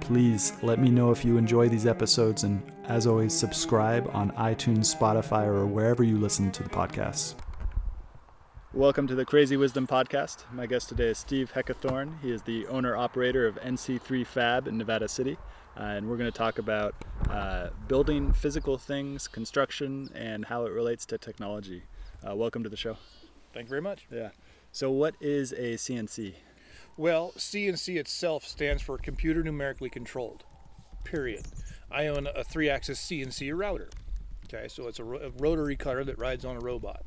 Please let me know if you enjoy these episodes, and as always, subscribe on iTunes, Spotify, or wherever you listen to the podcast. Welcome to the Crazy Wisdom Podcast. My guest today is Steve Heckathorn. He is the owner operator of NC3 Fab in Nevada City. Uh, and we're going to talk about uh, building physical things, construction, and how it relates to technology. Uh, welcome to the show. Thank you very much. Yeah. So, what is a CNC? Well, CNC itself stands for computer numerically controlled. Period. I own a three-axis CNC router. Okay, so it's a, ro- a rotary cutter that rides on a robot.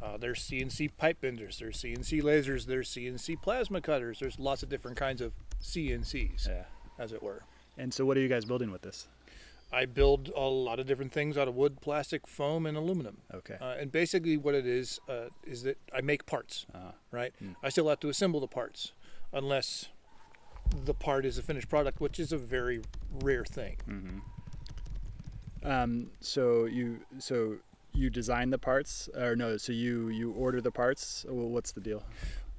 Uh, there's CNC pipe benders. There's CNC lasers. There's CNC plasma cutters. There's lots of different kinds of CNCs, Yeah. as it were. And so, what are you guys building with this? I build a lot of different things out of wood, plastic, foam, and aluminum. Okay. Uh, and basically, what it is uh, is that I make parts, Ah. right? Hmm. I still have to assemble the parts, unless the part is a finished product, which is a very rare thing. Hmm. Um, so you so you design the parts, or no? So you you order the parts. Well, what's the deal?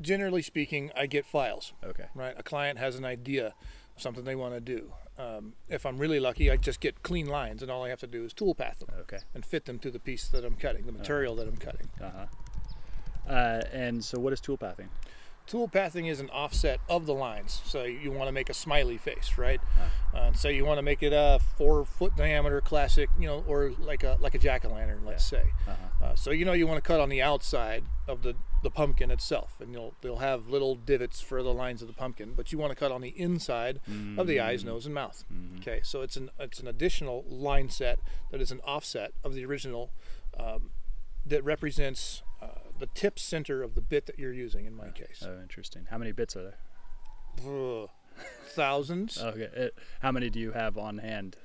Generally speaking, I get files, Okay. right? A client has an idea, something they want to do. Um, if I'm really lucky, I just get clean lines, and all I have to do is tool path them Okay. and fit them to the piece that I'm cutting, the material that I'm cutting. Uh-huh. Uh And so, what is tool pathing? tool pathing is an offset of the lines so you want to make a smiley face right uh, so you want to make it a four foot diameter classic you know or like a like a jack-o'-lantern let's say Uh-huh. uh, so you know you want to cut on the outside of the the pumpkin itself and you'll they'll have little divots for the lines of the pumpkin but you want to cut on the inside of the eyes nose and mouth okay so it's an it's an additional line set that is an offset of the original um, that represents uh, the tip center of the bit that you're using in my case Oh, interesting. How many bits are there? Ugh. thousands Okay. Uh, how many do you have on hand?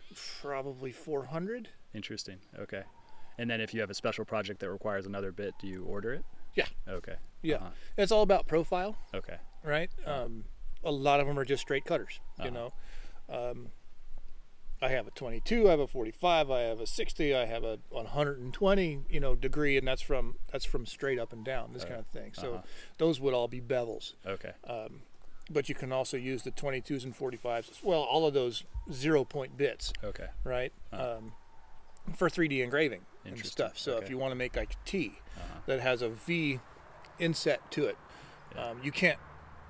probably 400 Interesting. Okay. And then, if you have a special project that requires another bit, do you order it? yeah Okay. yeah Uh-huh. it's all about profile Okay. right um, a lot of them are just straight cutters Uh-huh. you know um, i have a 22 i have a 45 i have a 60 i have a 120 you know degree and that's from that's from straight up and down this kind of thing so Uh-huh. those would all be bevels Okay. Uh, but you can also use the 22s and 45s as well all of those zero point bits okay. right? Um, for 3D engraving and Interesting. stuff. So Okay. Uh-huh. if you want to make like a T that has a V inset to it, um, you can't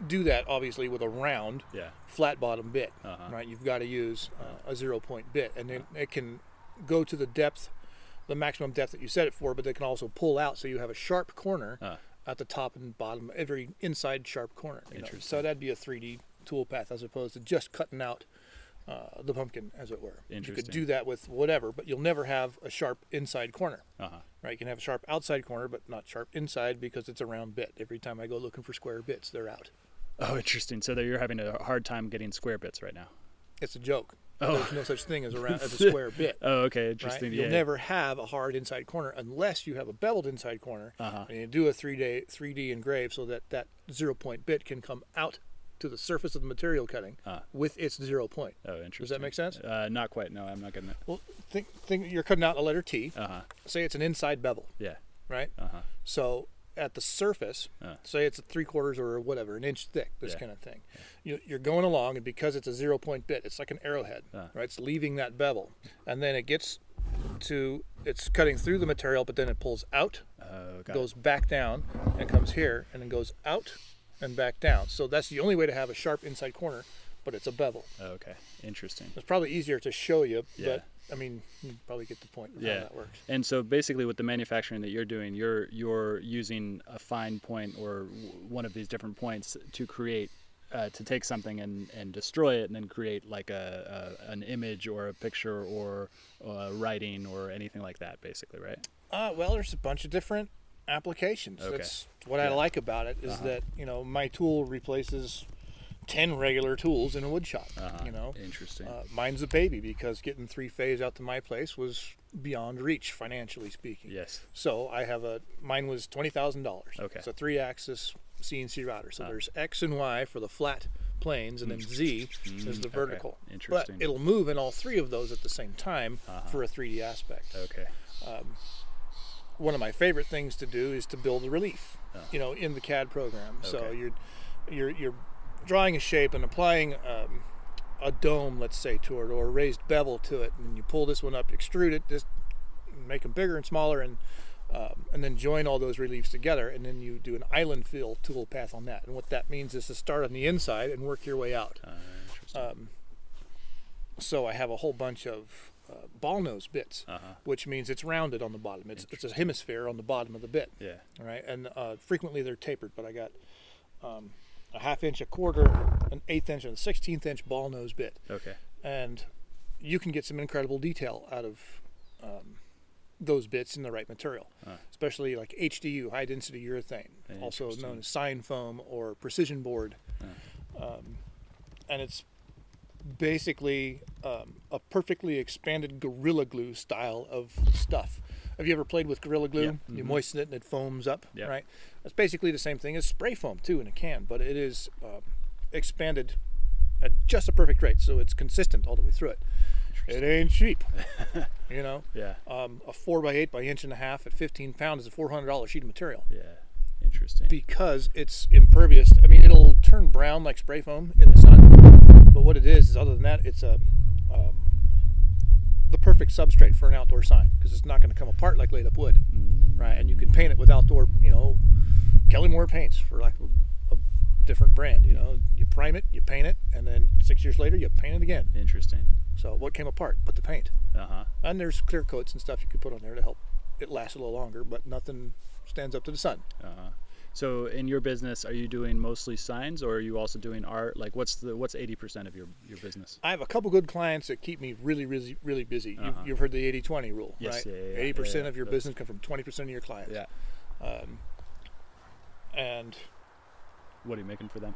do that obviously with a round Yeah. flat bottom bit, Uh-huh. right? You've got to use uh, a zero point bit, and then it can go to the depth, the maximum depth that you set it for, but they can also pull out, so you have a sharp corner Uh. at the top and bottom, every inside sharp corner. you know. Interesting. So that'd be a 3D tool path as opposed to just cutting out uh, the pumpkin, as it were. You could Interesting. do that with whatever, but you'll never have a sharp inside corner. Uh huh. Right, you can have a sharp outside corner, but not sharp inside because it's a round bit. Every time I go looking for square bits, they're out. Oh, interesting. So that you're having a hard time getting square bits right now. It's a joke. Oh. There's no such thing as a round as a square bit. Oh, okay. Right? Interesting. You'll yeah. never have a hard inside corner unless you have a beveled inside corner Uh-huh. and you do a three day three D engrave so that that zero point bit can come out to the surface of the material cutting Ah. with its zero point. Oh, interesting. make sense? Uh, not quite. No, I'm not getting it. Well, think think you're cutting out a letter T. Uh huh. Say it's an inside bevel, Yeah. right? Uh huh. So at the surface, Uh. say it's a three quarters or whatever, an inch thick, this Yeah. kind of thing. You, you're going along, and because it's a zero point bit, it's like an arrowhead, Uh. right? It's leaving that bevel, and then it gets to it's cutting through the material, but then it pulls out, Oh, got goes back down, and comes here, and then goes out and back down. So that's the only way to have a sharp inside corner, but it's a bevel. it. Oh, Okay. Interesting. It's probably easier to show you, Yeah. but I mean, you probably get the point of Yeah. how that works. And so basically, with the manufacturing that you're doing, you're you're using a fine point or w- one of these different points to create. Uh, to take something and, and destroy it and then create like a, a an image or a picture or uh, writing or anything like that basically right Uh, well, there's a bunch of different applications. Okay. That's what I Yeah. Uh-huh. like about it is that you know my tool replaces ten regular tools in a wood shop. Uh-huh. You know, Interesting. uh, mine's a baby because getting three phase out to my place was beyond reach financially speaking. yes. So I have a mine was twenty thousand dollars. Okay. Uh-huh. It's a three axis CNC router. So there's X and Y for the flat planes, and then Z is the vertical. Mm-hmm. Interesting. Uh-huh. But it'll move in all three of those at the same time for a 3D aspect. Okay. One of my favorite things to do is to build a relief. You know, in the CAD program. So Okay. you're you're you're drawing a shape and applying. Um, a dome, let's say, to it, or a raised bevel to it, and you pull this one up, extrude it, just make them bigger and smaller, and um, and then join all those reliefs together, and then you do an island fill tool path on that. And what that means is to start on the inside and work your way out. Ah, um, so I have a whole bunch of uh, ball nose bits, Uh-huh. which means it's rounded on the bottom. It's it's a hemisphere on the bottom of the bit. Yeah. All right, and uh, frequently they're tapered, but I got um, a half inch, a quarter, an eighth inch, and a sixteenth inch ball nose bit, Okay. and you can get some incredible detail out of um, those bits in the right material, Ah. especially like HDU, high density urethane, also known Interesting. as sign foam or precision board, um, and it's basically um, a perfectly expanded gorilla glue style of stuff. Have you ever played with gorilla glue? Yeah. You Mhm. moisten it and it foams up, Yeah. right? That's basically the same thing as spray foam too in a can, but it is um, expanded at just a perfect rate, so it's consistent all the way through it. It ain't cheap, you know. Yeah. Um, a four by eight by inch and a half at 15 pounds is a 400 dollar sheet of material Yeah. Interesting. because it's impervious. I mean, it'll turn brown like spray foam in the sun, but what it is is other than that, it's a um, the perfect substrate for an outdoor sign because it's not going to come apart like laid up wood, right? And you can paint it with outdoor, you know, Kelly Moore paints for like a, a different brand. You know, you prime it, you paint it, and then six years later you paint it again. Interesting. So what came apart? But the paint. Uh Uh-huh. huh. And there's clear coats and stuff you could put on there to help it last a little longer, but nothing stands up to the sun. Uh Uh-huh. huh. So in your business, are you doing mostly signs, or are you also doing art? Like, what's the what's eighty percent of your your business? I have a couple good clients that keep me really, really, really busy. Uh-huh. You've, you've heard the 80-20 rule, Yes, right? yeah, yeah, yeah, 80% yeah, yeah. of your That's- business come from 20% of your clients. Um, and What are you making for them?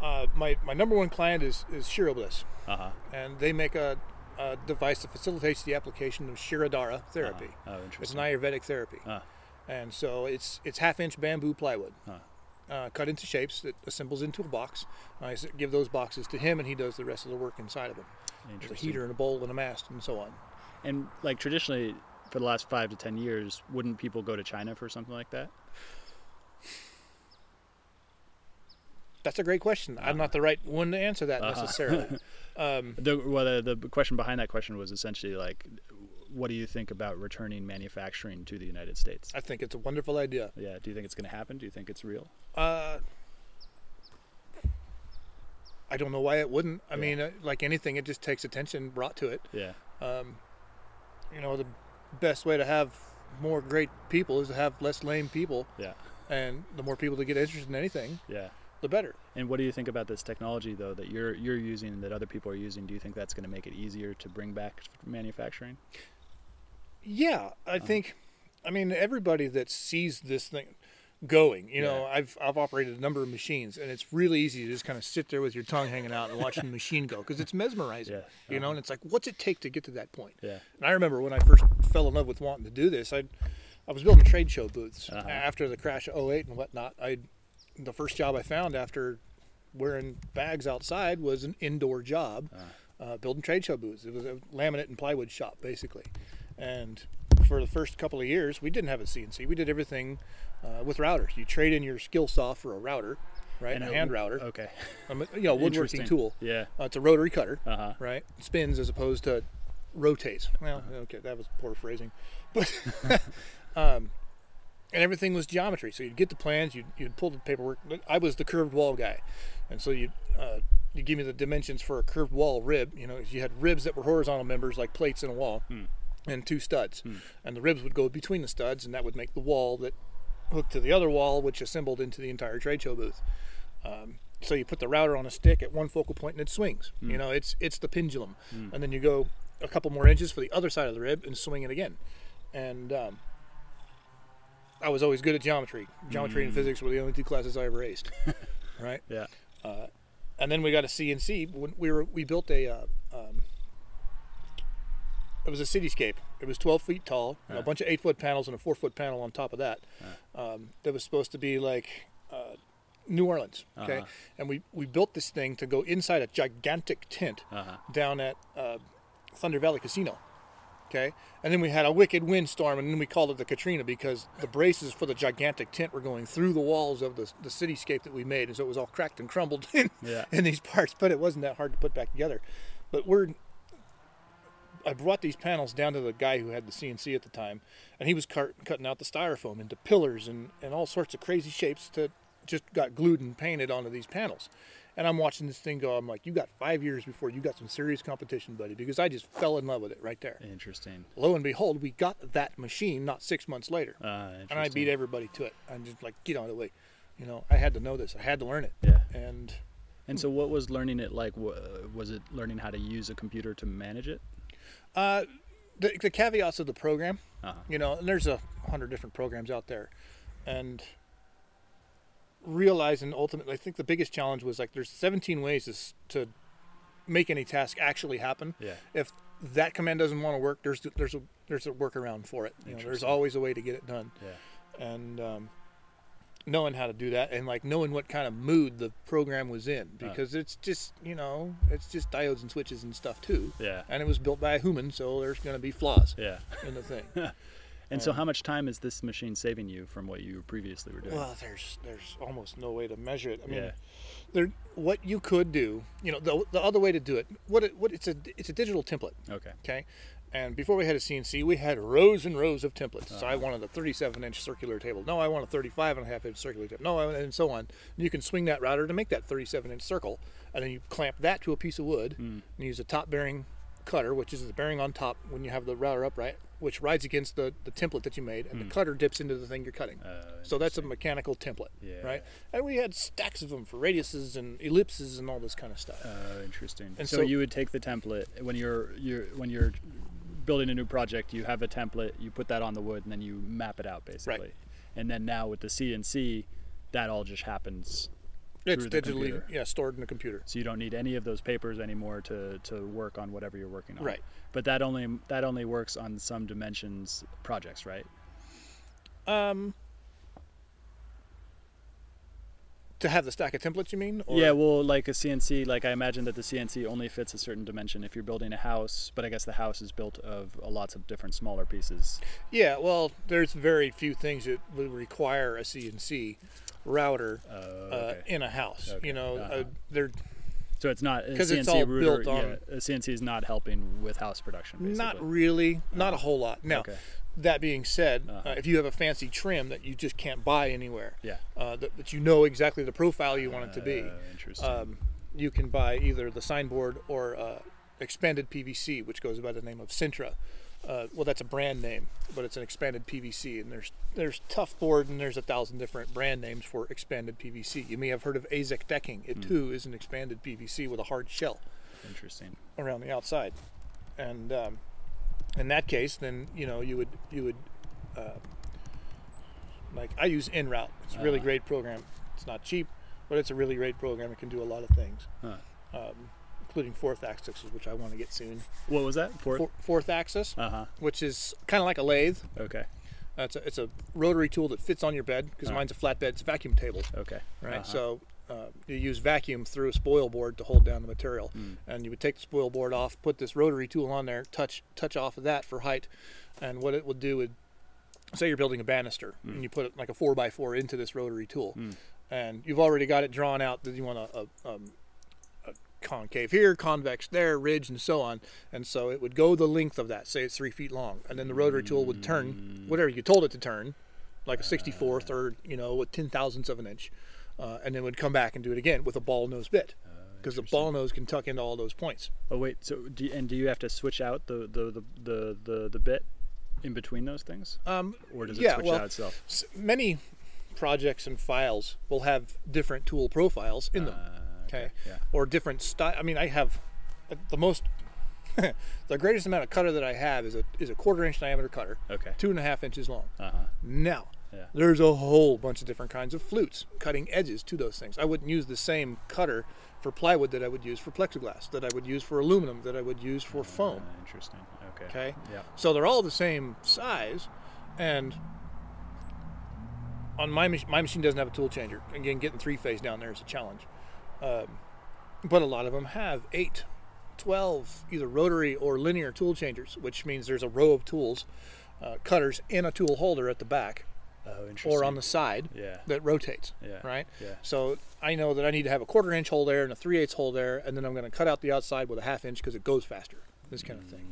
uh, my, my number one client is, is Shirobliss, Uh huh. and they make a, a device that facilitates the application of Shirodara therapy. Oh, It's interesting. an Ayurvedic therapy. Ah. And so it's it's half inch bamboo plywood, Ah. uh, cut into shapes that assembles into a box. I s- give those boxes to him, and he does the rest of the work inside of them. There's a Interesting. heater and a bowl and a mast and so on. And like traditionally, for the last five to ten years, wouldn't people go to China for something like that? That's a great question. I'm not the right one to answer that necessarily. um, The well, the, the question behind that question was essentially like, what do you think about returning manufacturing to the United States? I think it's a wonderful idea. Yeah. Do you think it's going to happen? Do you think it's real? Uh, I don't know why it wouldn't. I Yeah. mean, uh, like anything, it just takes attention brought to it. Yeah. Um, you know, the best way to have more great people is to have less lame people, Yeah. and the more people that get interested in anything, Yeah. the better. And what do you think about this technology though that you're you're using that other people are using? Do you think that's going to make it easier to bring back manufacturing? Yeah, I Uh-huh. think. I mean, everybody that sees this thing going, you know, I've I've operated a number of machines, and it's really easy to just kind of sit there with your tongue hanging out and watch the machine go because it's mesmerizing, Yeah, uh-huh. you know. And it's like, what's it take to get to that point? Yeah. And I remember when I first fell in love with wanting to do this, I I was building trade show booths Uh-huh. after the crash of 08 and whatnot. I the first job I found after wearing bags outside was an indoor job, uh, building trade show booths. It was a laminate and plywood shop basically, and for the first couple of years we didn't have a CNC. We did everything uh, with routers. You trade in your skill saw for a router, right? a it- hand router, Okay. um, you know, woodworking Interesting. tool. Yeah. Uh, it's a rotary cutter, Uh-huh. right? Spins as opposed to rotates. Well, okay, that was poor phrasing, but um, and everything was geometry. So you'd get the plans, you'd you'd pull the paperwork. I was the curved wall guy, and so you uh, you give me the dimensions for a curved wall rib. You know, you had ribs that were horizontal members like plates in a wall, Hmm. and two studs, and the ribs would go between the studs, and that would make the wall that hooked to the other wall, which assembled into the entire trade show booth. Um, so you put the router on a stick at one focal point and it swings. You know, it's it's the pendulum, and then you go a couple more inches for the other side of the rib and swing it again. And um, I was always good at geometry. Geometry and physics were the only two classes I ever aced. right? Yeah. and then we got a CNC. When we were we built a, uh, um, it was a cityscape. It was 12 feet tall, and a Yeah. bunch of eight foot panels and a four foot panel on top of that. Um, that was supposed to be like uh, New Orleans. Okay, Uh-huh. and we we built this thing to go inside a gigantic tent Uh-huh. down at uh, Thunder Valley Casino. Okay, and then we had a wicked windstorm, and then we called it the Katrina because the braces for the gigantic tent were going through the walls of the, the cityscape that we made, and so it was all cracked and crumbled in, Yeah. in these parts. But it wasn't that hard to put back together. But we're I brought these panels down to the guy who had the CNC at the time, and he was car- cutting out the styrofoam into pillars and, and all sorts of crazy shapes that just got glued and painted onto these panels. And I'm watching this thing go. I'm like, you got five years before you got some serious competition, buddy, because I just fell in love with it right there. Interesting. Lo and behold, we got that machine not six months later, Uh, and I beat everybody to it. I'm just like, get on the way. You know, I had to know this. I had to learn it. Yeah. And And so, what was learning it like? Wa- Was it learning how to use a computer to manage it? Uh, the, the caveats of the program, Uh-huh. you know, and there's a hundred different programs out there, and realizing ultimately, I think the biggest challenge was like there's 17 ways to, s- to make any task actually happen. Yeah. If that command doesn't want to work, there's there's a there's a workaround for it. You know, there's Interesting. always a way to get it done, Yeah. and um, knowing how to do that, and like knowing what kind of mood the program was in, Uh. because it's just you know it's just diodes and switches and stuff too Yeah. and it was built by a human, so there's going to be flaws Yeah. in the thing. And Um, so, how much time is this machine saving you from what you previously were doing? Well, there's there's almost no way to measure it. I mean, Yeah. there what you could do, you know, the, the other way to do it. What it, what it's a it's a digital template, okay. okay? And before we had a CNC, we had rows and rows of templates. Uh-huh. So I wanted a 37 inch circular table. No, I want a 35 and a half inch circular table. No, I- and so on. And you can swing that router to make that 37 inch circle, and then you clamp that to a piece of wood Hmm. and use a top bearing cutter, which is the bearing on top when you have the router upright, which rides against the, the template that you made, Hmm. and the cutter dips into the thing you're cutting. Uh, so that's a mechanical template, Yeah. right? And we had stacks of them for radiuses and ellipses and all this kind of stuff. uh, interesting. And so, so- you would take the template when you're you're when you're building a new project. You have a template. You put that on the wood, and then you map it out basically. And then now with the CNC, that all just happens. It's through the digitally computer. yeah stored in the computer. So you don't need any of those papers anymore to, to work on whatever you're working on. Right. But that only that only works on some dimensions projects, right? Um, to have the stack of templates, you mean? Or, yeah, well, like a CNC, like I imagine that the CNC only fits a certain dimension if you're building a house, but I guess the house is built of uh, lots of different smaller pieces. Yeah. Well, there's very few things that would require a CNC router Uh, uh, okay. in a house. You know, uh, Uh-huh. they're so it's not a 'cause CNC it's all router, built on- yeah, a CNC is not helping with house production. Basically. Uh-huh. not really, not a whole lot. Now, Okay. that being said, uh Uh-huh. if you have a fancy trim that you just can't buy anywhere, Yeah. uh, that, that you know exactly the profile you want it to be, Uh, interesting. um, you can buy either the signboard or uh, expanded PVC, which goes by the name of Sintra. Uh, well, that's a brand name, but it's an expanded PVC, and there's there's tough board, and there's a thousand different brand names for expanded PVC. You may have heard of AZEK decking. It too is an expanded PVC with a hard shell interesting. around the outside, and um, in that case, then you know you would you would uh, like I use InRoute. It's a really Uh-huh. great program. It's not cheap, but it's a really great program. It can do a lot of things, Huh. um, including fourth axis, which I want to get soon. What was that? Fourth. Four, fourth axis, Uh huh. which is kind of like a lathe. Okay. Uh, it's, a, it's a rotary tool that fits on your bed because Uh-huh. mine's a flatbed. It's a vacuum table Okay. right? Uh-huh. So uh, you use vacuum through a spoil board to hold down the material, and you would take the spoil board off, put this rotary tool on there, touch touch off of that for height, and what it would do would say you're building a banister and you put it like a four by four into this rotary tool, and you've already got it drawn out that you want a, a, um, a concave here, convex there, ridge, and so on, and so it would go the length of that, say it's three feet long, and then the rotary tool would turn whatever you told it to turn, like a 64th or you know with 10 thousandths of an inch uh, and then would come back and do it again with a ball nose bit because the ball nose can tuck into all those points Oh wait. So do you, and do you have to switch out the the, the, the, the, the bit in between those things, um, or does it yeah, switch well, out itself? s- many projects and files will have different tool profiles in them Uh, okay, yeah. or different style i mean i have uh, the most the greatest amount of cutter that i have is a is a quarter inch diameter cutter Okay. two and a half inches long Uh huh. now Yeah. There's a whole bunch of different kinds of flutes, cutting edges to those things. I wouldn't use the same cutter for plywood that I would use for plexiglass, that I would use for aluminum, that I would use for foam. Uh, interesting. Okay. Okay. Yeah. So they're all the same size, and on my mach- my machine doesn't have a tool changer. Again, getting three phase down there is a challenge, um, but a lot of them have eight, 12 either rotary or linear tool changers, which means there's a row of tools, uh, cutters, and a tool holder at the back Oh, interesting. or on the side Yeah. that rotates. Yeah. Right. Yeah. So I know that I need to have a quarter inch hole there and a three eighths hole there, and then I'm going to cut out the outside with a half inch because it goes faster. This kind of thing.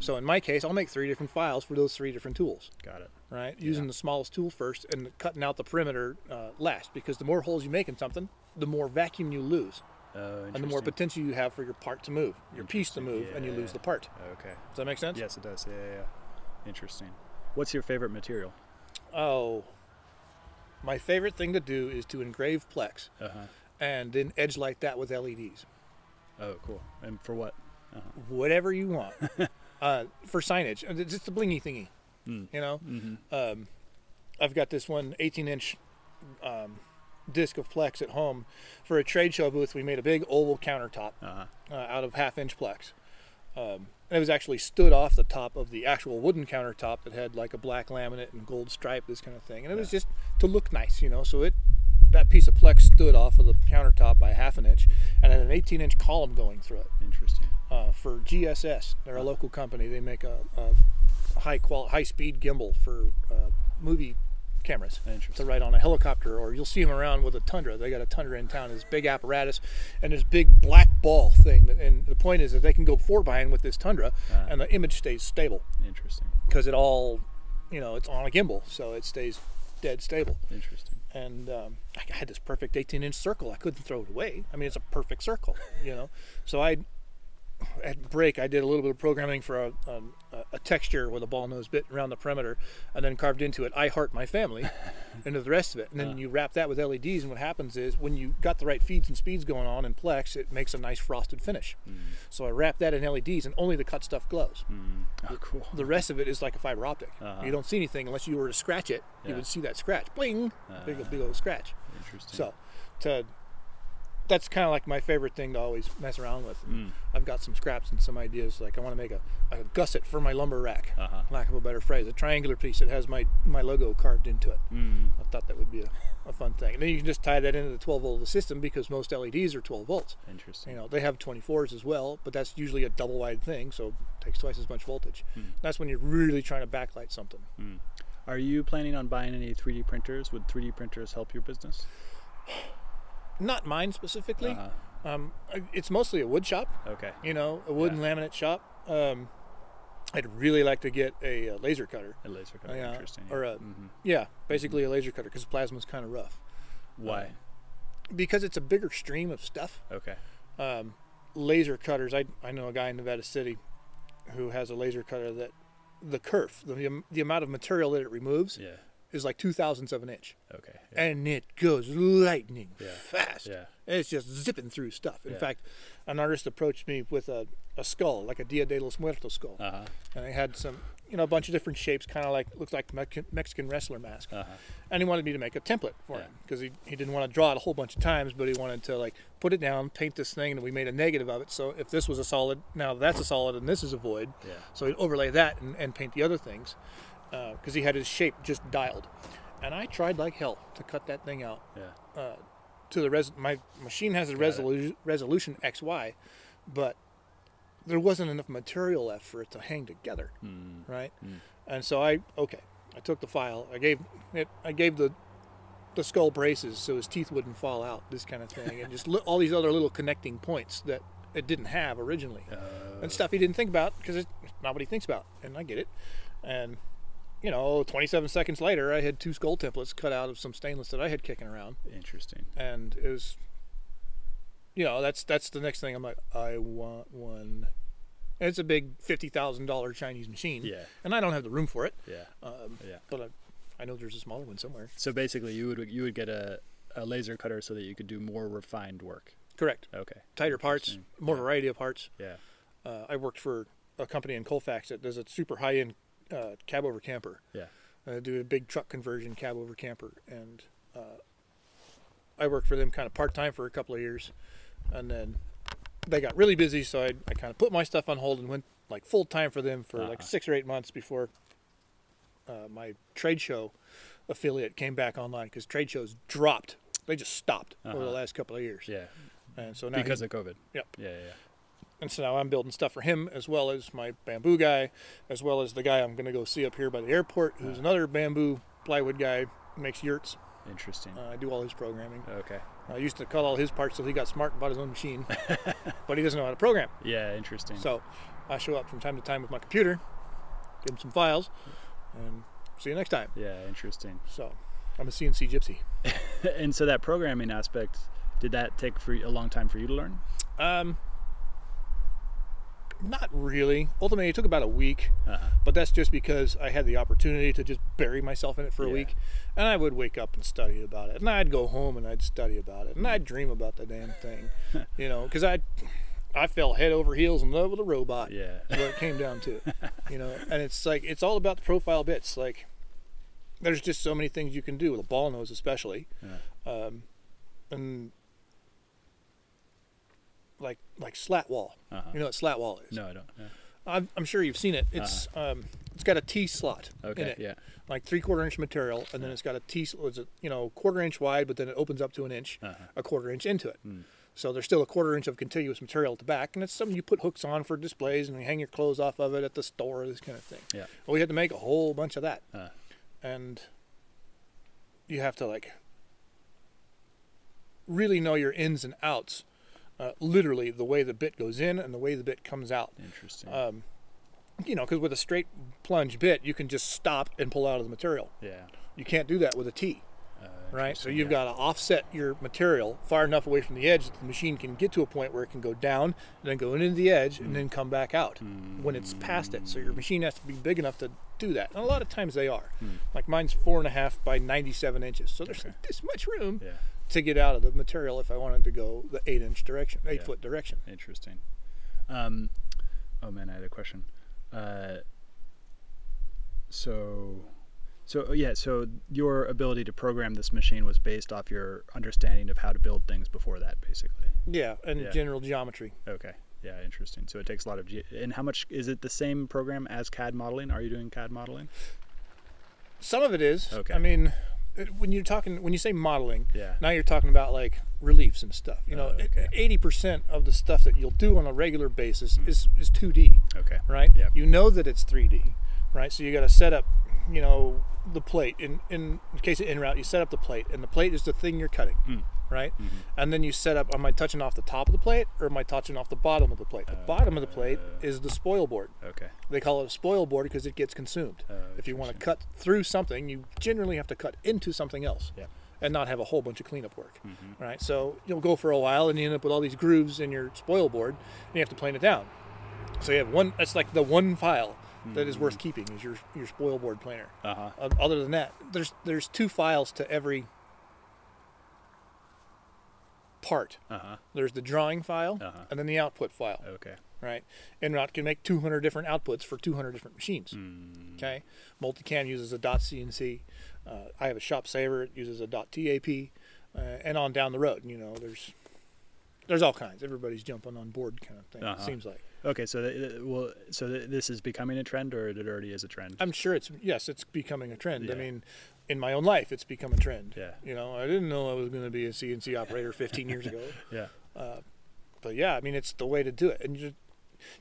So in my case, I'll make three different files for those three different tools. Got it. Right. Using the smallest tool first and cutting out the perimeter uh, last, because the more holes you make in something, the more vacuum you lose, Oh, interesting. and the more potential you have for your part to move, your piece to move, and you lose Yeah. the part. Okay. Does that make sense? Yes, it does. Yeah, yeah, yeah. Interesting. What's your favorite material? Oh. My favorite thing to do is to engrave plex Uh huh. and then edge light that with E LEDs. Oh, cool. And for what? whatever you want uh, for signage. And it's just the blingy thingy, you know. Um, I've got this one 18 inch um, disc of Plex at home for a trade show booth. We made a big oval countertop Uh uh, out of half inch Plex. Um, and it was actually stood off the top of the actual wooden countertop that had like a black laminate and gold stripe, this kind of thing. And it was just to look nice, you know. So it that piece of Plex stood off of the countertop by half an inch and had an 18 inch column going through it Interesting. uh, for GSS. They're a local company. They make a, a high qual high speed gimbal for uh, movie cameras to Interesting. ride on a helicopter, or you'll see them around with a Tundra. They got a Tundra in town, this big apparatus, and this big black ball thing. And the point is that they can go four by with this Tundra, and the image stays stable Interesting. because it all, you know, it's on a gimbal, so it stays dead stable. Interesting. And um, I had this perfect 18 inch circle. I couldn't throw it away. I mean, it's a perfect circle, you know. So I at break, I did a little bit of programming for a, um, a, a texture with a ball nose bit around the perimeter, and then carved into it "I heart my family" into the rest of it. And then you wrap that with LEDs, and what happens is when you got the right feeds and speeds going on in Plex, it makes a nice frosted finish. So I wrap that in LEDs, and only the cut stuff glows. Oh, cool. The rest of it is like a fiber optic. Uh-huh. You don't see anything unless you were to scratch it. You Yeah. Uh-huh. would see that scratch, bling, big big old scratch. Interesting. So, to that's kind of like my favorite thing to always mess around with. Mm. I've got some scraps and some ideas. Like I want to make a, a gusset for my lumber rack, Uh-huh. lack of a better phrase, a triangular piece that has my my logo carved into it. Mm. I thought that would be a, a fun thing. And then you can just tie that into the 12 volt of the system because most LEDs are 12 volts. Interesting. You know, they have 24s as well, but that's usually a double wide thing, so it takes twice as much voltage. Hmm. That's when you're really trying to backlight something. Are you planning on buying any 3D printers? Would 3D printers help your business? Not mine specifically. Uh-huh. Um, it's mostly a wood shop. Okay. you know, a wooden laminate shop. Um, I'd really like to get a, uh laser cutter. A laser cutter. Yeah, Interesting. Mm-hmm. or a, yeah, basically a laser cutter because plasma's kind of rough. Why? um, Because it's a bigger stream of stuff. Okay. Um, laser cutters. I I know a guy in Nevada City who has a laser cutter that the kerf, the, am- the amount of material that it removes, Yeah. is like two thousandths of an inch, Okay. Yeah. and it goes lightning Yeah. fast. Yeah. It's just zipping through stuff. In Yeah. fact, an artist approached me with a, a skull, like a Dia de los Muertos skull. Uh huh. and they had some, you know, a bunch of different shapes, kind of like looked like Mex- Mexican wrestler mask. And he wanted me to make a template for him because he, he didn't want to draw it a whole bunch of times, but he wanted to like put it down, paint this thing, and we made a negative of it. So if this was a solid, now that's a solid, and this is a void. Yeah. So he'd overlay that and, and paint the other things because he had his shape just dialed. And I tried like hell to cut that thing out Yeah. to the res. My machine has a resolution resolution XY, but there wasn't enough material left for it to hang together, right? And so I okay, I took the file. I gave it. I gave the the skull braces so his teeth wouldn't fall out. This kind of thing, and just li- all these other little connecting points that it didn't have originally, and stuff he didn't think about because it's not what he thinks about. And I get it, and. You know, 27 seconds later, I had two skull templates cut out of some stainless that I had kicking around Interesting. and it was you know that's that's the next thing i'm like i want one and it's a big $50000 chinese machine Yeah. and i don't have the room for it Yeah. um, Yeah. but I, I know there's a smaller one somewhere So basically, you would you would get a, a laser cutter so that you could do more refined work. correct Okay. tighter parts Interesting. more variety of parts Yeah. uh, i worked for a company in colfax that does a super high-end uh, cab over camper Yeah. uh, do a big truck conversion, cab over camper, and uh, I worked for them kind of part time for a couple of years, and then they got really busy, so I, I kind of put my stuff on hold and went like full time for them for like Uh-uh. six or eight months before uh, my trade show affiliate came back online because trade shows dropped. They just stopped over the Uh-huh. last couple of years, Yeah. and so now Because of COVID. Yep. Yeah, yeah. yeah. and so now I'm building stuff for him as well as my bamboo guy, as well as the guy I'm going to go see up here by the airport, who's another bamboo plywood guy, makes yurts. Interesting. Uh, I do all his programming. okay. I used to cut all his parts till he got smart and bought his own machine, but he doesn't know how to program. Yeah, interesting. So I show up from time to time with my computer, give him some files, and see you next time. yeah, interesting. So I'm a CNC gypsy. and so that programming aspect, did that take for a long time for you to learn? Um, not really. Ultimately, it took about a week. Uh-huh. but that's just because I had the opportunity to just bury myself in it for a Yeah. week, and I would wake up and study about it, and I'd go home and I'd study about it, and I'd dream about the damn thing, you know, because I, I fell head over heels in love with a robot. Yeah. is what it came down to, you know, and it's like it's all about the profile bits. Like, there's just so many things you can do with a ball nose, especially, um, and like like slat wall. Uh-huh. You know what slat wall is? No, I don't. Yeah. I'm, I'm sure you've seen it. It's um, it's got a T slot in Uh-huh. Okay, it, yeah. like three quarter inch material, and then it's got a T. sl- Was it you know quarter inch wide, but then it opens up to an inch, Uh-huh. Hmm. a quarter inch into it. So there's still a quarter inch of contiguous material at the back, and it's something you put hooks on for displays, and you hang your clothes off of it at the store, this kind of thing. Yeah. Well, we had to make a whole bunch of that, Uh, and you have to like really know your ins and outs, uh, literally the way the bit goes in and the way the bit comes out interesting. um, you know, because with a straight plunge bit, you can just stop and pull out of the material. yeah. You can't do that with a T, Uh, right? So interesting, you've got yeah. to offset your material far enough away from the edge that the machine can get to a point where it can go down, and then go into the edge, and then come back out Hmm. when it's past it. So your machine has to be big enough to do that. And a lot of times they are. Like mine's four and a half by 97 inches. So there's Hmm. Okay. this much room Yeah. to get out of the material if I wanted to go the eight inch direction, eight Yeah. foot direction. Interesting. Um, oh man, I had a question. Uh, so, so oh, yeah, so your ability to program this machine was based off your understanding of how to build things before that, basically. Yeah, and Yeah. general geometry. Okay. Yeah, interesting. So it takes a lot of. G- and how much is it the same program as CAD modeling? Are you doing CAD modeling? Some of it is. Okay. I mean, it- when you're talking, when you say modeling, Yeah. now you're talking about like reliefs and stuff. You know, Oh, okay. Hmm. eighty percent of the stuff that you'll do on a regular basis is is two D, Okay. right? Yeah. You know that it's three D, right? So you got to set up, you know, the plate. In in the case of in route, you set up the plate, and the plate is the thing you're cutting. Hmm. Right, Mm-hmm. and then you set up. Am I touching off the top of the plate, or am I touching off the bottom of the plate? The bottom of the plate is the spoil board. Uh, Okay. They call it a spoil board because it gets consumed. Oh, if you want to interesting. cut through something, you generally have to cut into something else Yeah. Mm-hmm. and not have a whole bunch of cleanup work. Right? So you'll go for a while and you end up with all these grooves in your spoil board and you have to plane it down. So you have one that's like the one file that is Mm. worth keeping is your your spoil board planer. Uh huh. Uh, Other than that, there's there's two files to every part. Uh huh. There's the drawing file Uh-huh. and then the output file Okay. right? Enroute can make 200 different outputs for 200 different machines. Hmm. Okay, Multicam uses a dot .cnc. Uh, I have a Shop Saver. It uses a dot .tap, uh, and on down the road. You know, there's there's all kinds. Everybody's jumping on board, kind of thing. Uh-huh. It seems like Okay. So th- th- well, so th- this is becoming a trend, or it already is a trend. I'm sure it's yes, it's becoming a trend. I Yeah. mean. In my own life, it's become a trend. Yeah. You know, I didn't know I was going to be a CNC operator 15 years ago. yeah. but yeah, I mean, it's the way to do it. And you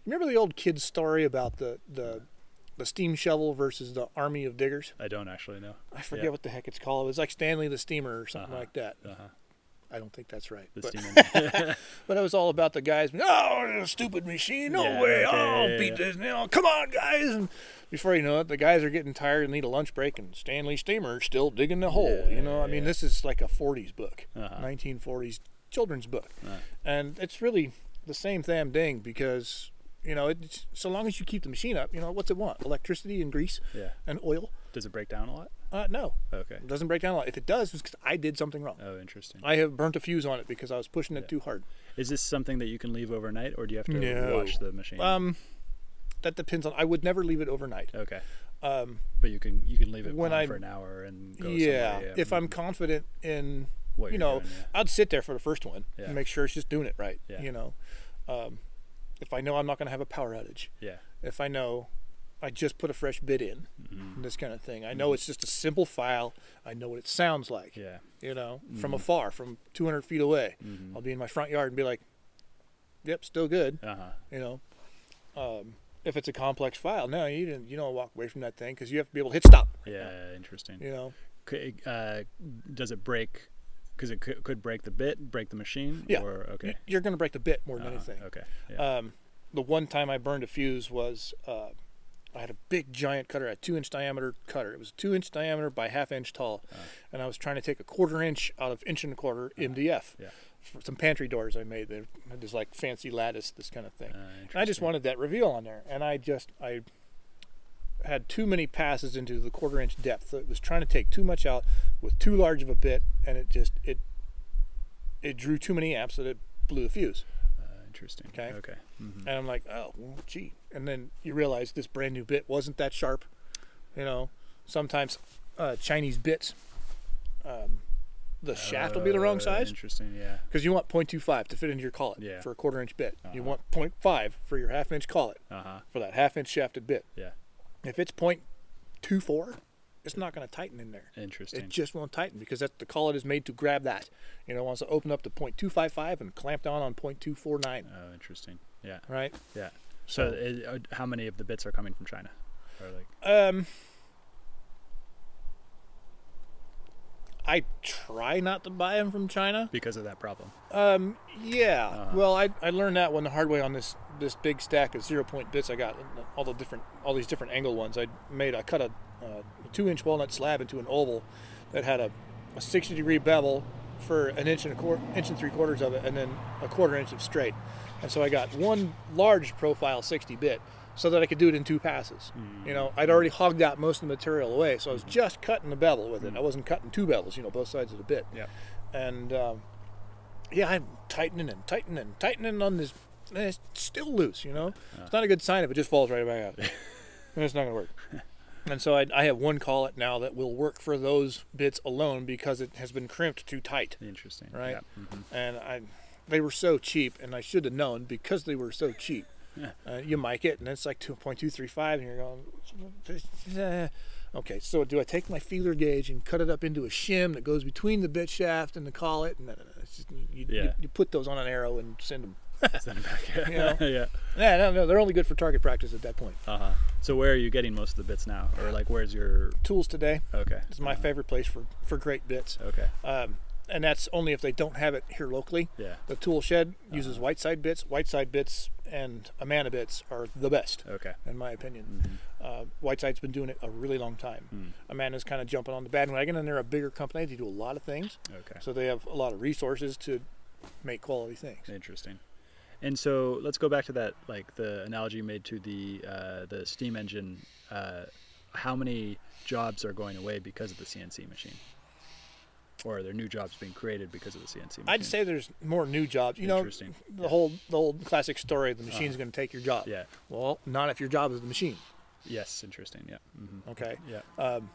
remember the old kid story about the the the steam shovel versus the army of diggers? I don't actually know. I forget Yeah. what the heck it's called. It was like Stanley the Steamer or something Uh-huh. like that. Uh-huh. I don't think that's right. The But, steam but it was all about the guys. Oh, this stupid machine! No Yeah, way! okay, oh, I'll yeah, beat yeah. this! Now, come on, guys! And before you know it, the guys are getting tired and need a lunch break. And Stanley Steamer is still digging the hole. you know, I mean, yeah. this is like a '40s book, Uh-huh. 1940s children's book, Right. and it's really the same damn thing because you know, it's, so long as you keep the machine up, you know, what's it want? Electricity and grease yeah. and oil? Does it break down a lot? Uh, no, Okay. it doesn't break down a lot. If it does, it's because I did something wrong. Oh, interesting. I have burnt a fuse on it because I was pushing it Yeah. too hard. Is this something that you can leave overnight, or do you have to No. wash the machine? Um, that depends on. I would never leave it overnight. okay. Um, but you can you can leave it When on I- for an hour and go yeah, somewhere, Mm-hmm. if I'm confident in, What you you're know, doing, yeah. I'd sit there for the first one Yeah. and make sure she's doing it right. Yeah. You know, um, if I know I'm not going to have a power outage, yeah if I know I just put a fresh bit in, Mm-hmm. and this kind of thing. I know it's just a simple file. I know what it sounds like. yeah Mm-hmm. You know, from afar, from 200 feet away, I'll be in my front yard and be like, "Yep, still good." uh huh you know um, if it's a complex file no you didn't you don't walk away from that thing because you have to be able to hit stop yeah interesting. you know C- Uh, does it break? Because it could, could break the bit, break the machine. Yeah. Or okay. you're going to break the bit more than Uh-huh, anything Okay. Yeah. um, the one time i burned a fuse was uh, i had a big giant cutter a two inch diameter cutter it was two inch diameter by half inch tall Uh-huh. and i was trying to take a quarter inch out of inch and a quarter mdf yeah. for some pantry doors i made they had this like fancy lattice this kind of thing Uh, And I just interesting. wanted that reveal on there, and I just I had too many passes into the quarter inch depth. So it was trying to take too much out with too large of a bit, and it just it it drew too many amps that it blew the fuse. Uh, interesting. Okay. Okay. Mhm. And I'm like, oh, well, gee. And then you realize this brand new bit wasn't that sharp. You know, sometimes uh, Chinese bits, um, the shaft will be the wrong Uh, size Interesting. Yeah. because you want 0.25 to fit into your collet Yeah. for a quarter inch bit. You Uh-huh. want 0.5 for your half inch collet Uh huh. for that half inch shafted bit. Yeah. If it's 0.24, it's not going to tighten in there. Interesting. It just won't tighten because that's the collet is made to grab that. You know, it wants to open up to 0.255 and clamp down on 0.249. oh, interesting. Yeah. All right. Yeah. So, it, uh, how many of the bits are coming from China? Or like, Um, I try not to buy them from China. because of that problem. Um, yeah. Uh-huh. Well, I, I learned that one the hard way on this this big stack of zero point bits I got all the different all these different angle ones I made. I cut a, uh, two inch walnut slab into an oval that had a, a sixty degree bevel for an inch and a quarter inch and three quarters of it, and then a quarter inch of straight. And so I got one large profile sixty bit so that I could do it in two passes. You know, I'd already hogged out most of the material away, so I was just cutting the bevel with it. I wasn't cutting two bevels, you know, both sides of the bit Yeah. and um, yeah, I'm tightening and tightening and tightening on this, and it's still loose. You know, it's not a good sign if it just falls right back out. and it's not gonna work. And so I, I have one collet now that will work for those bits alone because it has been crimped too tight, Interesting. right? Yeah. Mhm. And I, they were so cheap, and I should have known because they were so cheap. Yeah. Uh, you mic it, and it's like two point two three five, and you're going, "Eh." okay. So do I take my feeler gauge and cut it up into a shim that goes between the bit shaft and the collet? And uh, it's just, you, you- Yeah. you put those on an arrow and send them. Mm. Send it back. You know? yeah. Yeah, no, no, they're only good for target practice at that point. Uh huh. So where are you getting most of the bits now, or like where's your? Tools today Okay. is my favorite place for for great bits, Okay. um, and that's only if they don't have it here locally. Yeah. The tool shed uses Uh-huh. white side bits. White side bits and Amana bits are the best. Okay. in my Mm-hmm. opinion. Uh, Whiteside's been doing it a really long Mm. time. Amanda's kind of jumping on the bandwagon, and they're a bigger company. They do a lot of things, Okay. so they have a lot of resources to make quality things. Interesting. And so let's go back to that, like the analogy you made to the uh, the steam engine. Uh, how many jobs are going away because of the CNC machine, or are there new jobs being created because of the CNC machine? I'd say there's more new jobs. You know, Interesting. Uh-huh. the whole the old classic story: the machine's going to take your job. Yeah. Well, not if your job is the machine. Yes. Interesting. Yeah. hmm Okay. Yeah. Um,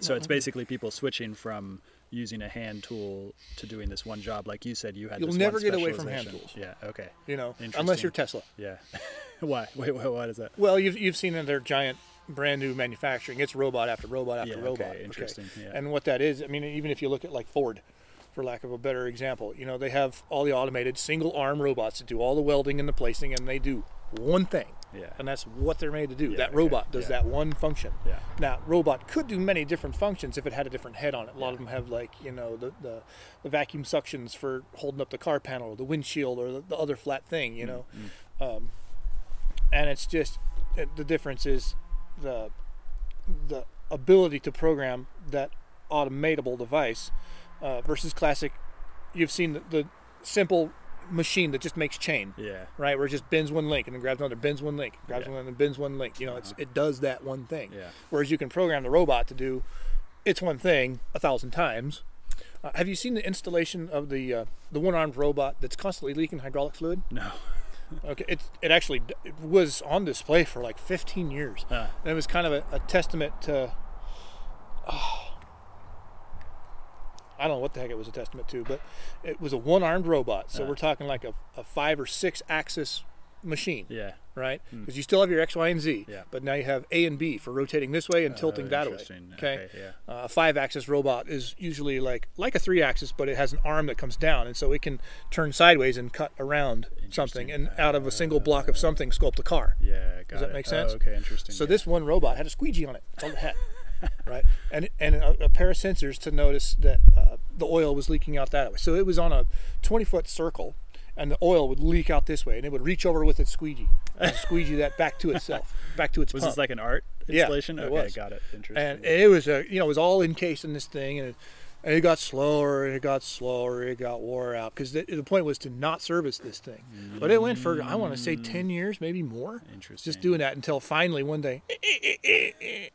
So Mm-hmm. it's basically people switching from using a hand tool to doing this one job, like you said. You had. You'll this never one get away from hand specialization. Yeah. Okay. you know, unless Interesting. you're Tesla. Yeah. Why? Wait. Wait. What is that? Well, you've, you've seen in their giant, brand new manufacturing, it's robot after robot after Yeah, okay, robot. interesting, yeah. And what that is, I mean, even if you look at like Ford, for lack of a better example, you know, they have all the automated single arm robots that do all the welding and the placing, and they do one thing. Yeah. And that's what they're made to do. Yeah, that okay, robot does yeah. that one function. Yeah. Now, robot could do many different functions if it had a different head on it. A lot of them have like you know the, the, the vacuum suctions for holding up the car panel, or the windshield, or the, the other flat thing. Mm, You know, um, and it's just uh, the difference is the the ability to program that automatable device uh, versus classic. You've seen the, the simple machine that just makes chain Yeah. right? Where it just bends one link and then grabs another, bends one link, grabs Yeah. Uh-huh. one and bends one link. You know, it's it does that one thing. Yeah. Whereas you can program the robot to do it's one thing a thousand times. Uh, have you seen the installation of the uh, the one armed robot that's constantly leaking hydraulic fluid? No. Okay, it, it actually d- it was on display for like 15 years. Uh, And it was kind of a, a testament to. ah, I don't know what the heck it was a testament to, but it was a one armed robot. So Uh. we're talking like a, a five or six axis machine, yeah. right? Because you still have your X, Y, and Z, Hmm. Yeah. but now you have A and B for rotating this way and tilting Oh, that way. interesting. Okay. Yeah. Uh, a five-axis robot is usually like like a three-axis, but it has an arm that comes down, and so it can turn sideways and cut around something, and out of a single block of something, sculpt a car. Ah, Yeah. Got that it. make Oh, sense? okay. Interesting. So yeah. this one robot had a squeegee on it. That's all it had, right? And and a, a pair of sensors to notice that uh, the oil was leaking out that way. So it was on a 20-foot circle, and the oil would leak out this way, and it would reach over with its squeegee, and squeegee that back to itself, back to its. was pump this like an art Yeah, installation. it okay. was. Got it. Interesting. and it was a you know it was all encased in this thing and it, and it got slower and it got slower it got wore out because the, the point was to not service this thing but it went for i want to say 10 years maybe more Mm. Interesting. just doing that until finally one day eh,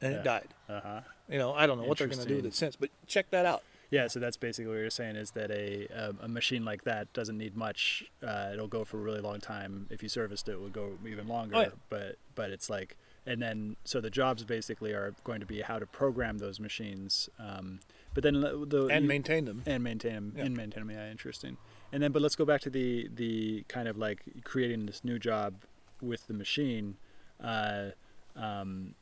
and it died Uh huh. you know i don't know what they're going to do with it since but check that out Yeah. So that's basically what you're saying is that a um, a machine like that doesn't need much. Uh, it'll go for a really long time. If you serviced it, it would go even longer. Oh, yeah. But but it's like and then so the jobs basically are going to be how to program those machines. Um, but then the, the and you- maintain them and maintain them Yeah. and maintain them yeah interesting and then but let's go back to the the kind of like creating this new job with the machine uh um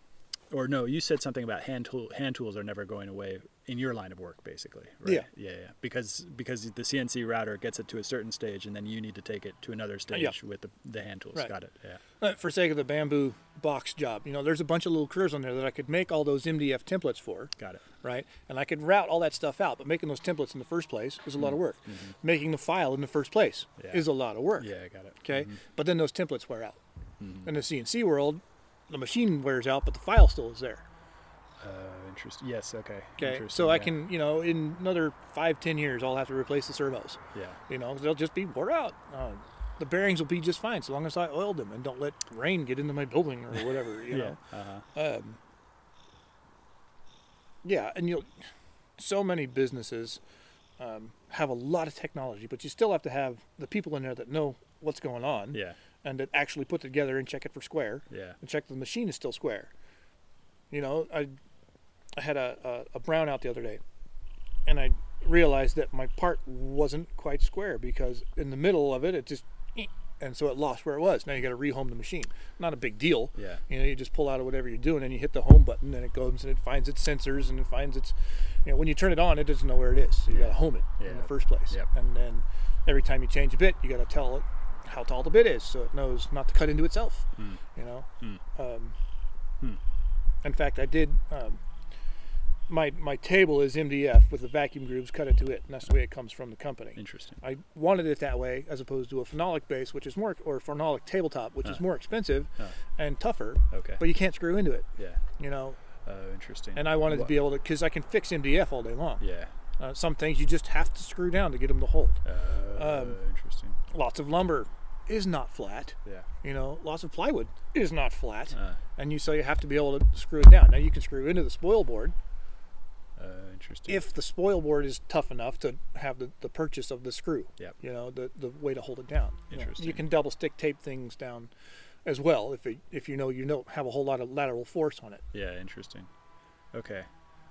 or no you said something about hand tool hand tools are never going away in your line of work basically right Yeah. yeah yeah because because the cnc router gets it to a certain stage and then you need to take it to another stage with the, the hand tools Right. got it yeah Uh, for sake of the bamboo box job you know there's a bunch of little curves on there that i could make all those mdf templates for got it right? And I could route all that stuff out, but making those templates in the first place is a lot of work. Making the file in the first place Mm. Mm-hmm. Yeah. is a lot of work. yeah got it Mm-hmm. Okay, but then those templates wear out. In the CNC world, the machine wears out, but the file still is there. uh interesting yes okay Okay, Interesting, so I yeah. can, you know, in another five, ten years, I'll have to replace the servos. yeah You know, 'cause they'll just be wore out. Uh, the bearings will be just fine so long as I oiled them and don't let rain get into my building or whatever. You know. yeah uh-huh Um, yeah, and you so many businesses um, have a lot of technology, but you still have to have the people in there that know what's going on yeah and that actually put together and check it for square yeah and check that the machine is still square. You know, I I had a, a, a brownout the other day, and I realized that my part wasn't quite square because in the middle of it, it just and so it lost where it was. Now you got to rehome the machine. Not a big deal. Yeah. You know, you just pull out of whatever you're doing and you hit the home button and it goes and it finds its sensors and it finds its. You know, when you turn it on, it doesn't know where it is. So you got to home it in Yeah. the first place. Yep. And then every time you change a bit, you got to tell it how tall the bit is so it knows not to cut into itself. Hmm. You know. Um, In fact, I did. Um, my my table is MDF with the vacuum grooves cut into it, and that's the way it comes from the company. interesting I wanted it that way as opposed to a phenolic base, which is more, or a phenolic tabletop, which is more expensive Huh. and tougher, okay but you can't screw into it, yeah you know. oh interesting And I wanted to Wha- be able to, because I can fix MDF all day long. Yeah. Uh, some things you just have to screw down to get them to hold. Uh, Um, interesting. Lots of lumber is not flat, Yeah. you know. Lots of plywood is not flat, Uh, and you so you have to be able to screw it down. Now you can screw into the spoil board uh, interesting. if the spoil board is tough enough to have the, the purchase of the screw. Yep. You know, the, the way to hold it down. You know, Interesting. You can double stick tape things down as well if it, if you know you don't have a whole lot of lateral force on it. yeah, interesting. Okay.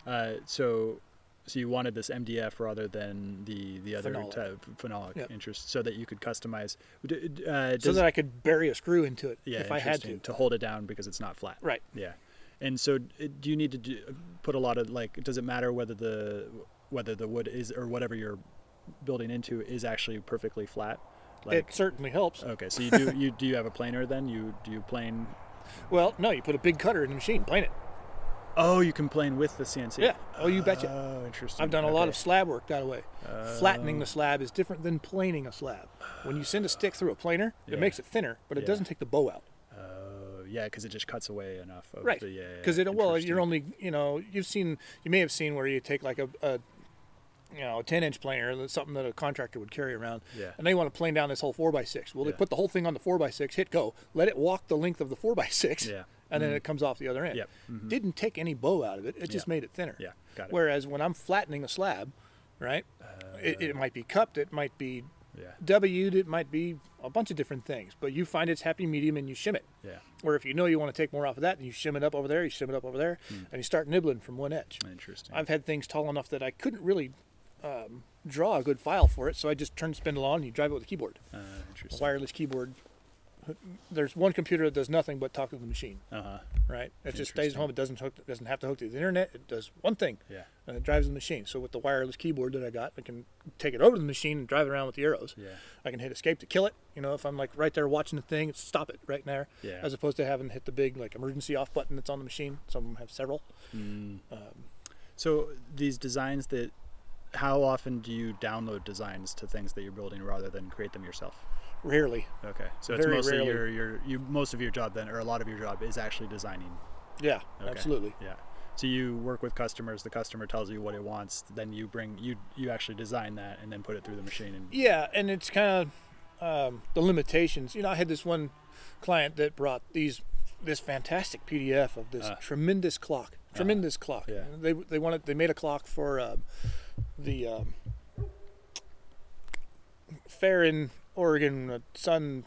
Uh, so, so you wanted this MDF rather than the the other Phenolic. type phenolic Yep. interest, so that you could customize. d- d- Uh, So does- that I could bury a screw into it yeah, if I had to. interesting, to hold it down because it's not flat. Right. Yeah. And so, d- do you need to do, put a lot of like? Does it matter whether the whether the wood is or whatever you're building into is actually perfectly flat? Like, it certainly helps. okay, so you do you do you have a planer then? You do you plane well, no, you put a big cutter in the machine, plane it. Oh, you can plane with the CNC. Yeah. Oh, you betcha. Oh, interesting. I've done a lot of Okay. Um, slab work that way. Flattening the slab is different than planing a slab. When you send a stick through a planer, Yeah. it makes it thinner, but it Yeah. doesn't take the bow out. Oh, yeah, because it just cuts away enough. Of right The, yeah. yeah, because it well you're interesting. only you know you've seen you may have seen where you take like a, a you know a 10 inch planer that's something that a contractor would carry around Yeah. and they want to plane down this whole 4x6 well Yeah. they put the whole thing on the 4x6 hit go let it walk the length of the 4x6 Yeah. Mm-hmm. and then it comes off the other end Yep. Mm-hmm. didn't take any bow out of it it just Yeah. made it thinner Yeah, got it. whereas when i'm flattening a slab right it, it might be cupped it might be Uh. Yeah. W'd it might be a bunch of different things, but you find its happy medium and you shim it. Yeah. Or if you know you want to take more off of that, you shim it up over there, you shim it up over there, and you start nibbling from one edge. Interesting. I've had things tall enough that I couldn't really um, draw a good file for it, so I just turn the spindle on and you drive it with a keyboard, uh, a interesting. wireless keyboard. There's one computer that does nothing but talk to the machine, Uh huh. right? It just stays at Interesting. home. It doesn't hook, doesn't have to hook to the internet. It does one thing, Yeah. and it drives the machine. So with the wireless keyboard that I got, I can take it over to the machine and drive it around with the arrows. Yeah. I can hit escape to kill it. You know, if I'm like right there watching the thing, it's stop it right there. Yeah. As opposed to having to hit the big like emergency off button that's on the machine. Some of them have several. So these designs that, how often do you download designs to things that you're building rather than create them yourself? Rarely. Okay. So it's Very mostly rarely. your your you most of your job then, or a lot of your job is actually designing. Yeah, Okay. absolutely. Yeah. So you work with customers. The customer tells you what it wants. Then you bring you you actually design that and then put it through the machine and Yeah, and it's kind of um, the limitations. You know, I had this one client that brought these this fantastic PDF of this Uh. tremendous clock, tremendous clock. Uh-huh. yeah. They they wanted they made a clock for um, the um, fair in Oregon uh, Sun.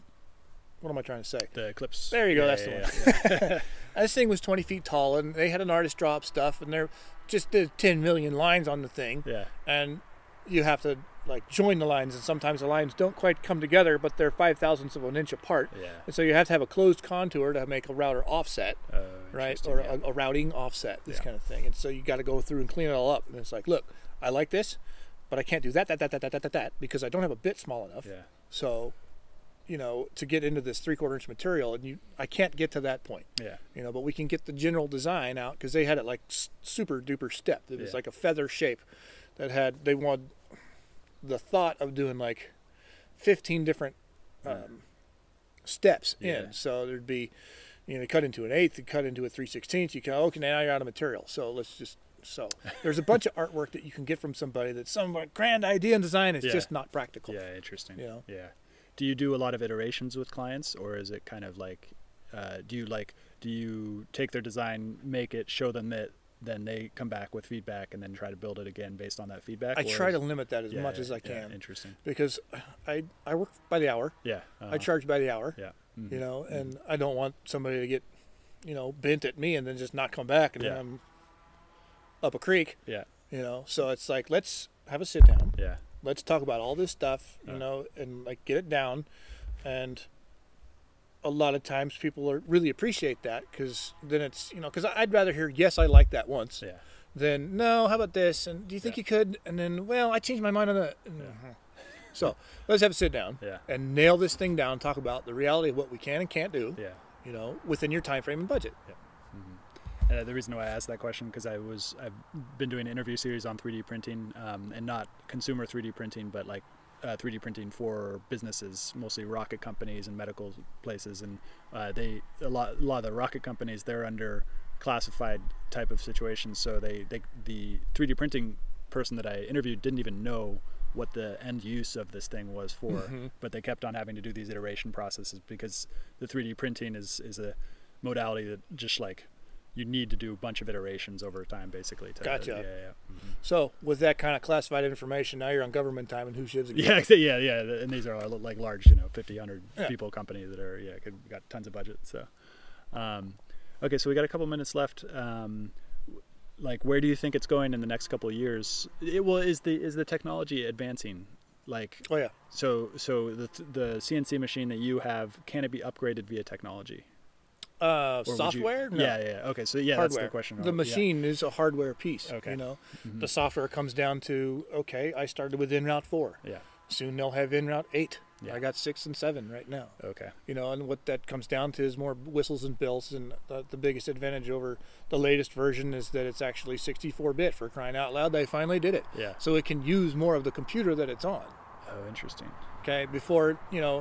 What am I trying to say? the clips. There you go, Yeah, that's the yeah, one. yeah. this thing was 20 feet tall and they had an artist draw up stuff and they're just did 10 million lines on the thing Yeah. and you have to like join the lines and sometimes the lines don't quite come together but they're five thousandths of an inch apart Yeah. and so you have to have a closed contour to make a router offset Oh, right interesting, or yeah. a, a routing offset this Yeah. kind of thing and so you got to go through and clean it all up and it's like look i like this but i can't do that that that that that that that, that because i don't have a bit small enough yeah. so you know to get into this three quarter inch material and you i can't get to that point Yeah. you know but we can get the general design out because they had it like s- super duper stepped it was Yeah. like a feather shape that had they wanted the thought of doing like 15 different um, steps Yeah. in so there'd be you know cut into an eighth you cut into a 316th you can okay now you're out of material so let's just so there's a bunch of artwork that you can get from somebody that's some like, grand idea and design is Yeah. just not practical Yeah, interesting. You know? Yeah. Do you do a lot of iterations with clients, or is it kind of like, uh, do you like, do you take their design, make it, show them it, then they come back with feedback, and then try to build it again based on that feedback? i or try is- to limit that as Yeah, much yeah, as i yeah, can interesting. because i i work by the hour Yeah. I uh-huh, charge by the hour. Yeah. Mm, You know, and Mm-hmm. I don't want somebody to get, you know, bent at me and then just not come back and Yeah. then I'm up a creek, Yeah. you know. So it's like let's have a sit down. Yeah. Let's talk about all this stuff, you Yeah. know, and like get it down and a lot of times people are really appreciate that because then it's you know because I'd rather hear yes I like that once Yeah. than no how about this and do you think Yeah. you could and then well I changed my mind on that so let's have a sit down Yeah. and nail this thing down. Talk about the reality of what we can and can't do. Yeah. You know, within your time frame and budget. Uh, the reason why I asked that question because I was I've been doing an interview series on 3D printing um, and not consumer 3D printing, but like uh, 3D printing for businesses, mostly rocket companies and medical places, and uh, they a lot a lot of the rocket companies they're under classified type of situations, so they they the 3D printing person that I interviewed didn't even know what the end use of this thing was for, but they kept on having to do these iteration processes because the 3D printing is is a modality that just like you need to do a bunch of iterations over time basically to Gotcha. yeah yeah So with that kind of classified information, now you're on government time and who shivs again. yeah exa- yeah yeah th- and these are all like large you know 50 100 Yeah. people company that are yeah could, got tons of budget so um, okay so we got a couple minutes left um, w- like where do you think it's going in the next couple of years it, well is the is the technology advancing like Oh yeah. so so the the cnc machine that you have can it be upgraded via technology Uh, Or would you- software? No. yeah yeah okay so yeah hardware. that's the question Oh, The Yeah. machine is a hardware piece. Okay. Mm-hmm. You know, the software comes down to okay, I started with InRoute four. yeah, Soon they'll have InRoute eight. Yeah. I got six and seven right now. okay you know, and what that comes down to is more whistles and bells. And uh, the biggest advantage over the latest version is that it's actually 64 bit for crying out loud. They finally did it. Yeah. So it can use more of the computer that it's on. oh interesting Okay. Before, you know,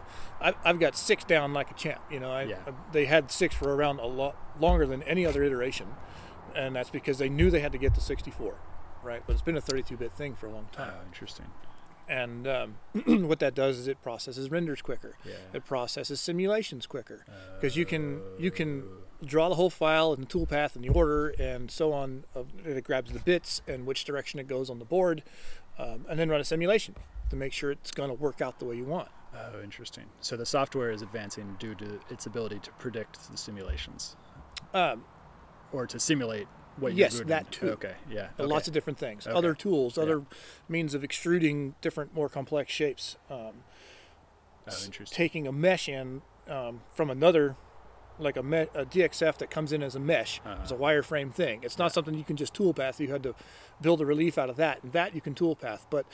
I, I've got six down like a champ. You know, I, Yeah. they had six for around a lot longer than any other iteration. And that's because they knew they had to get to 64, right? But it's been a 32 bit thing for a long oh time interesting and um, what that does is it processes renders quicker. Yeah. It processes simulations quicker because you can you can Oh. draw the whole file and the toolpath and the order and so on. Of, it grabs the bits and which direction it goes on the board, um, and then run a simulation. to make sure it's going to work out the way you want. Oh, interesting. So the software is advancing due to its ability to predict the simulations Um, or to simulate what Yes, you're doing. that too. Okay, yeah. uh, okay. Lots of different things, Okay. other tools, Yeah. other means of extruding different, more complex shapes. Um, oh, interesting. taking a mesh in um, from another, like a, me- a DXF that comes in as a mesh, Uh-huh. as a wireframe thing. It's not something you can just toolpath. You had to build a relief out of that, and that you can toolpath. But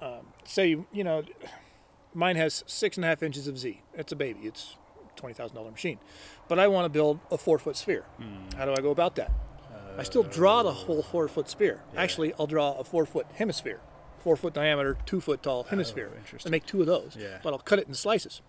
um, say you, you know, mine has six and a half inches of Z. It's a baby. It's twenty thousand dollar machine, but I want to build a four foot sphere. Hmm. How do I go about that? I still draw Oh. the whole four foot sphere. Actually, I'll draw a four foot hemisphere, four foot diameter, two foot tall hemisphere. Oh, interesting. and make two of those. Yeah. But I'll cut it in slices.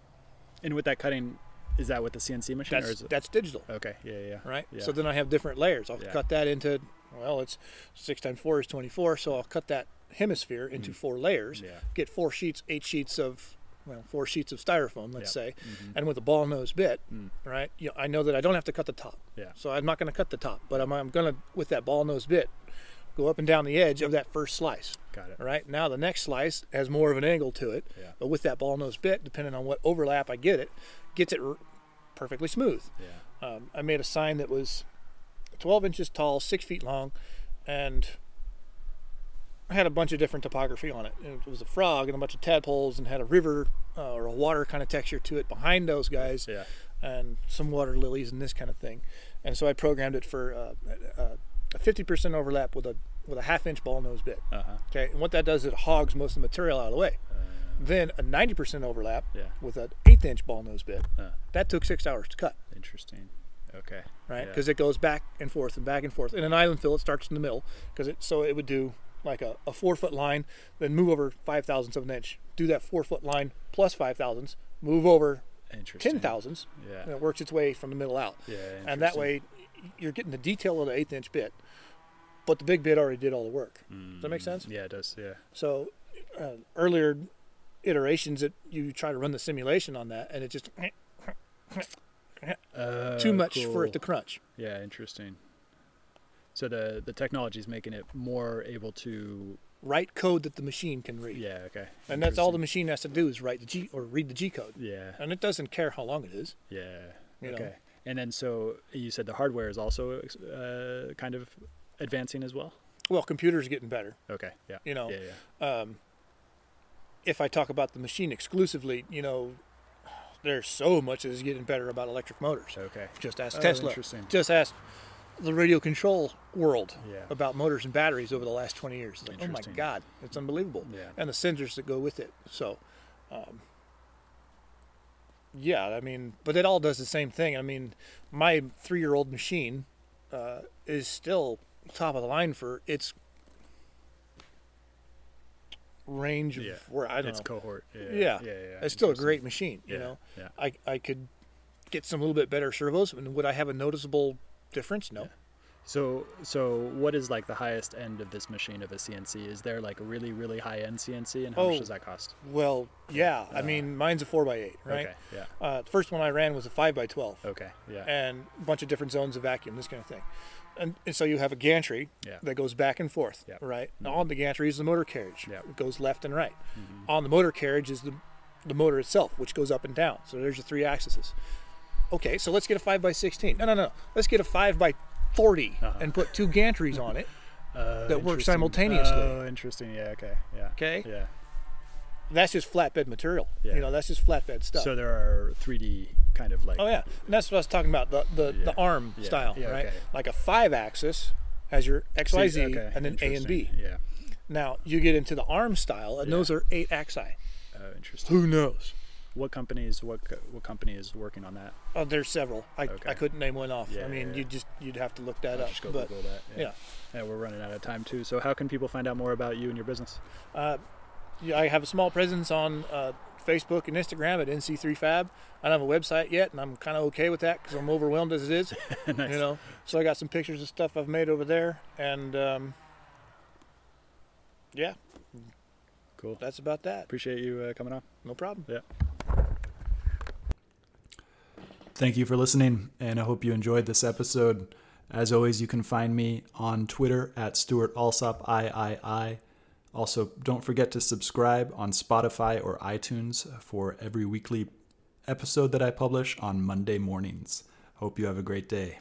And with that cutting, is that with the CNC machine or That's is it? that's digital, okay, yeah, yeah, yeah. right? Uh, Yeah. So then I have different layers. I'll Yeah. cut that into well, it's six times four is twenty-four. So I'll cut that hemisphere into four layers. Mm. Yeah. Get four sheets, eight sheets of well, four sheets of styrofoam, let's Yeah. Mm-hmm. say, Mm. and with a ball nose bit, right? You know, I know that I don't have to cut the top. Yeah. So I'm not going to cut the top, but I'm, I'm going to with that ball nose bit go up and down the edge of that first slice. Got it. All right. Now the next slice has more of an angle to it, Yeah. but with that ball nose bit, depending on what overlap I get it, gets it r- perfectly smooth. Yeah. Um, I made a sign that was 12 inches tall, six feet long, and I had a bunch of different topography on it. And it was a frog and a bunch of tadpoles, and had a river uh, or a water kind of texture to it behind those guys, Yeah. and some water lilies and this kind of thing. And so I programmed it for uh, uh, a 50% overlap with a with a half inch ball nose bit. Uh-huh. Uh. Okay, and what that does is it hogs most of the material out of the way. then a 90% overlap Yeah. with an eighth inch ball nose bit. Uh, That took six hours to cut, interesting. Okay. right? Yeah. Because it goes back and forth and back and forth. In an island fill, it starts in the middle because it so it would do like a, a four foot line, then move over five thousandths of an inch, do that four foot line plus five thousandths, move over Interesting. ten thousandths, Yeah. and it works its way from the middle out. Yeah, and that interesting. way, you're getting the detail of the eighth inch bit, but the big bit already did all the work. Does that make sense? Mm, Yeah, it does. Yeah. So uh, earlier iterations that you try to run the simulation on that, and it just Uh, too much for it to cool. crunch. Yeah, interesting. So the the technology is making it more able to. Write code that the machine can read, Yeah. Okay. and that's all the Interesting. machine has to do is write the G or read the G code, Yeah. and it doesn't care how long it is. Yeah. You know. okay. And then so you said the hardware is also uh, kind of advancing as well. Well, computers are getting better. Okay. Yeah. You know, Yeah. Yeah. um, if I talk about the machine exclusively, you know, there's so much that is getting better about electric motors. Okay. Just ask Oh, Tesla. interesting. Just ask the radio control world Yeah. about motors and batteries over the last 20 years. It's like, oh my Interesting. God, it's unbelievable. Yeah. And the sensors that go with it. So, um, yeah, I mean, but it all does the same thing. I mean, my three year old machine uh, is still top of the line for its range Yeah. of where I don't It's know. cohort. Yeah. Yeah. Yeah. yeah, It's still a interesting. great machine, you Yeah, know. yeah. I I could get some little bit better servos, and would I have a noticeable difference? No. So, so what is like the highest end of this machine of a CNC? Is there like a really, really high end CNC, and how Oh. much does that cost? Well, yeah. I mean, mine's a four x eight, right? Uh, Okay. Yeah. Oh, Uh, the first one I ran was a five x twelve, Okay. Yeah. and a bunch of different zones of vacuum, this kind of thing. And, and so you have a gantry Yeah. Mm-hmm. that goes back and forth, Yep. right? Now On the gantry is the motor carriage. Yep. It goes left and right. Mm-hmm. On the motor carriage is the, the motor itself, which goes up and down. So there's your three axes. Okay, so let's get a 5 by 16 No, no, no. Let's get a 5 by 40 and put two gantries on it. Uh-huh. Uh, that work interesting. simultaneously. Oh, interesting. Yeah. Okay. Yeah. 'Kay? Yeah. That's just flatbed material. Yeah. You know, that's just flatbed stuff. So there are 3D kind of like. Oh yeah, and that's what I was talking about the the, Yeah. the arm Yeah. style, Yeah, right? okay. Like a five axis has your X Y See, Z okay, and then A and B. interesting. Yeah. Now you get into the arm style, and those are eight axi. Oh, interesting. Who knows? What companies? What co- what company is working on that? Oh, there's several. I, I Okay. couldn't name one off. Yeah, I mean, yeah, you just you'd have to look that I'll up. just go but Google that. yeah. Yeah, we're running out of time too. So how can people find out more about you and your business? Yeah, I have a small presence on uh, Facebook and Instagram at NC3Fab. I don't have a website yet, and I'm kind of okay with that because I'm overwhelmed as it is. You know, so I got some pictures of stuff I've made over there, and um, yeah, Cool. that's about that. Appreciate you uh, coming on. No problem. Yeah. Thank you for listening, and I hope you enjoyed this episode. As always, you can find me on Twitter at Stuart Alsop III, Also, don't forget to subscribe on Spotify or iTunes for every weekly episode that I publish on Monday mornings. Hope you have a great day.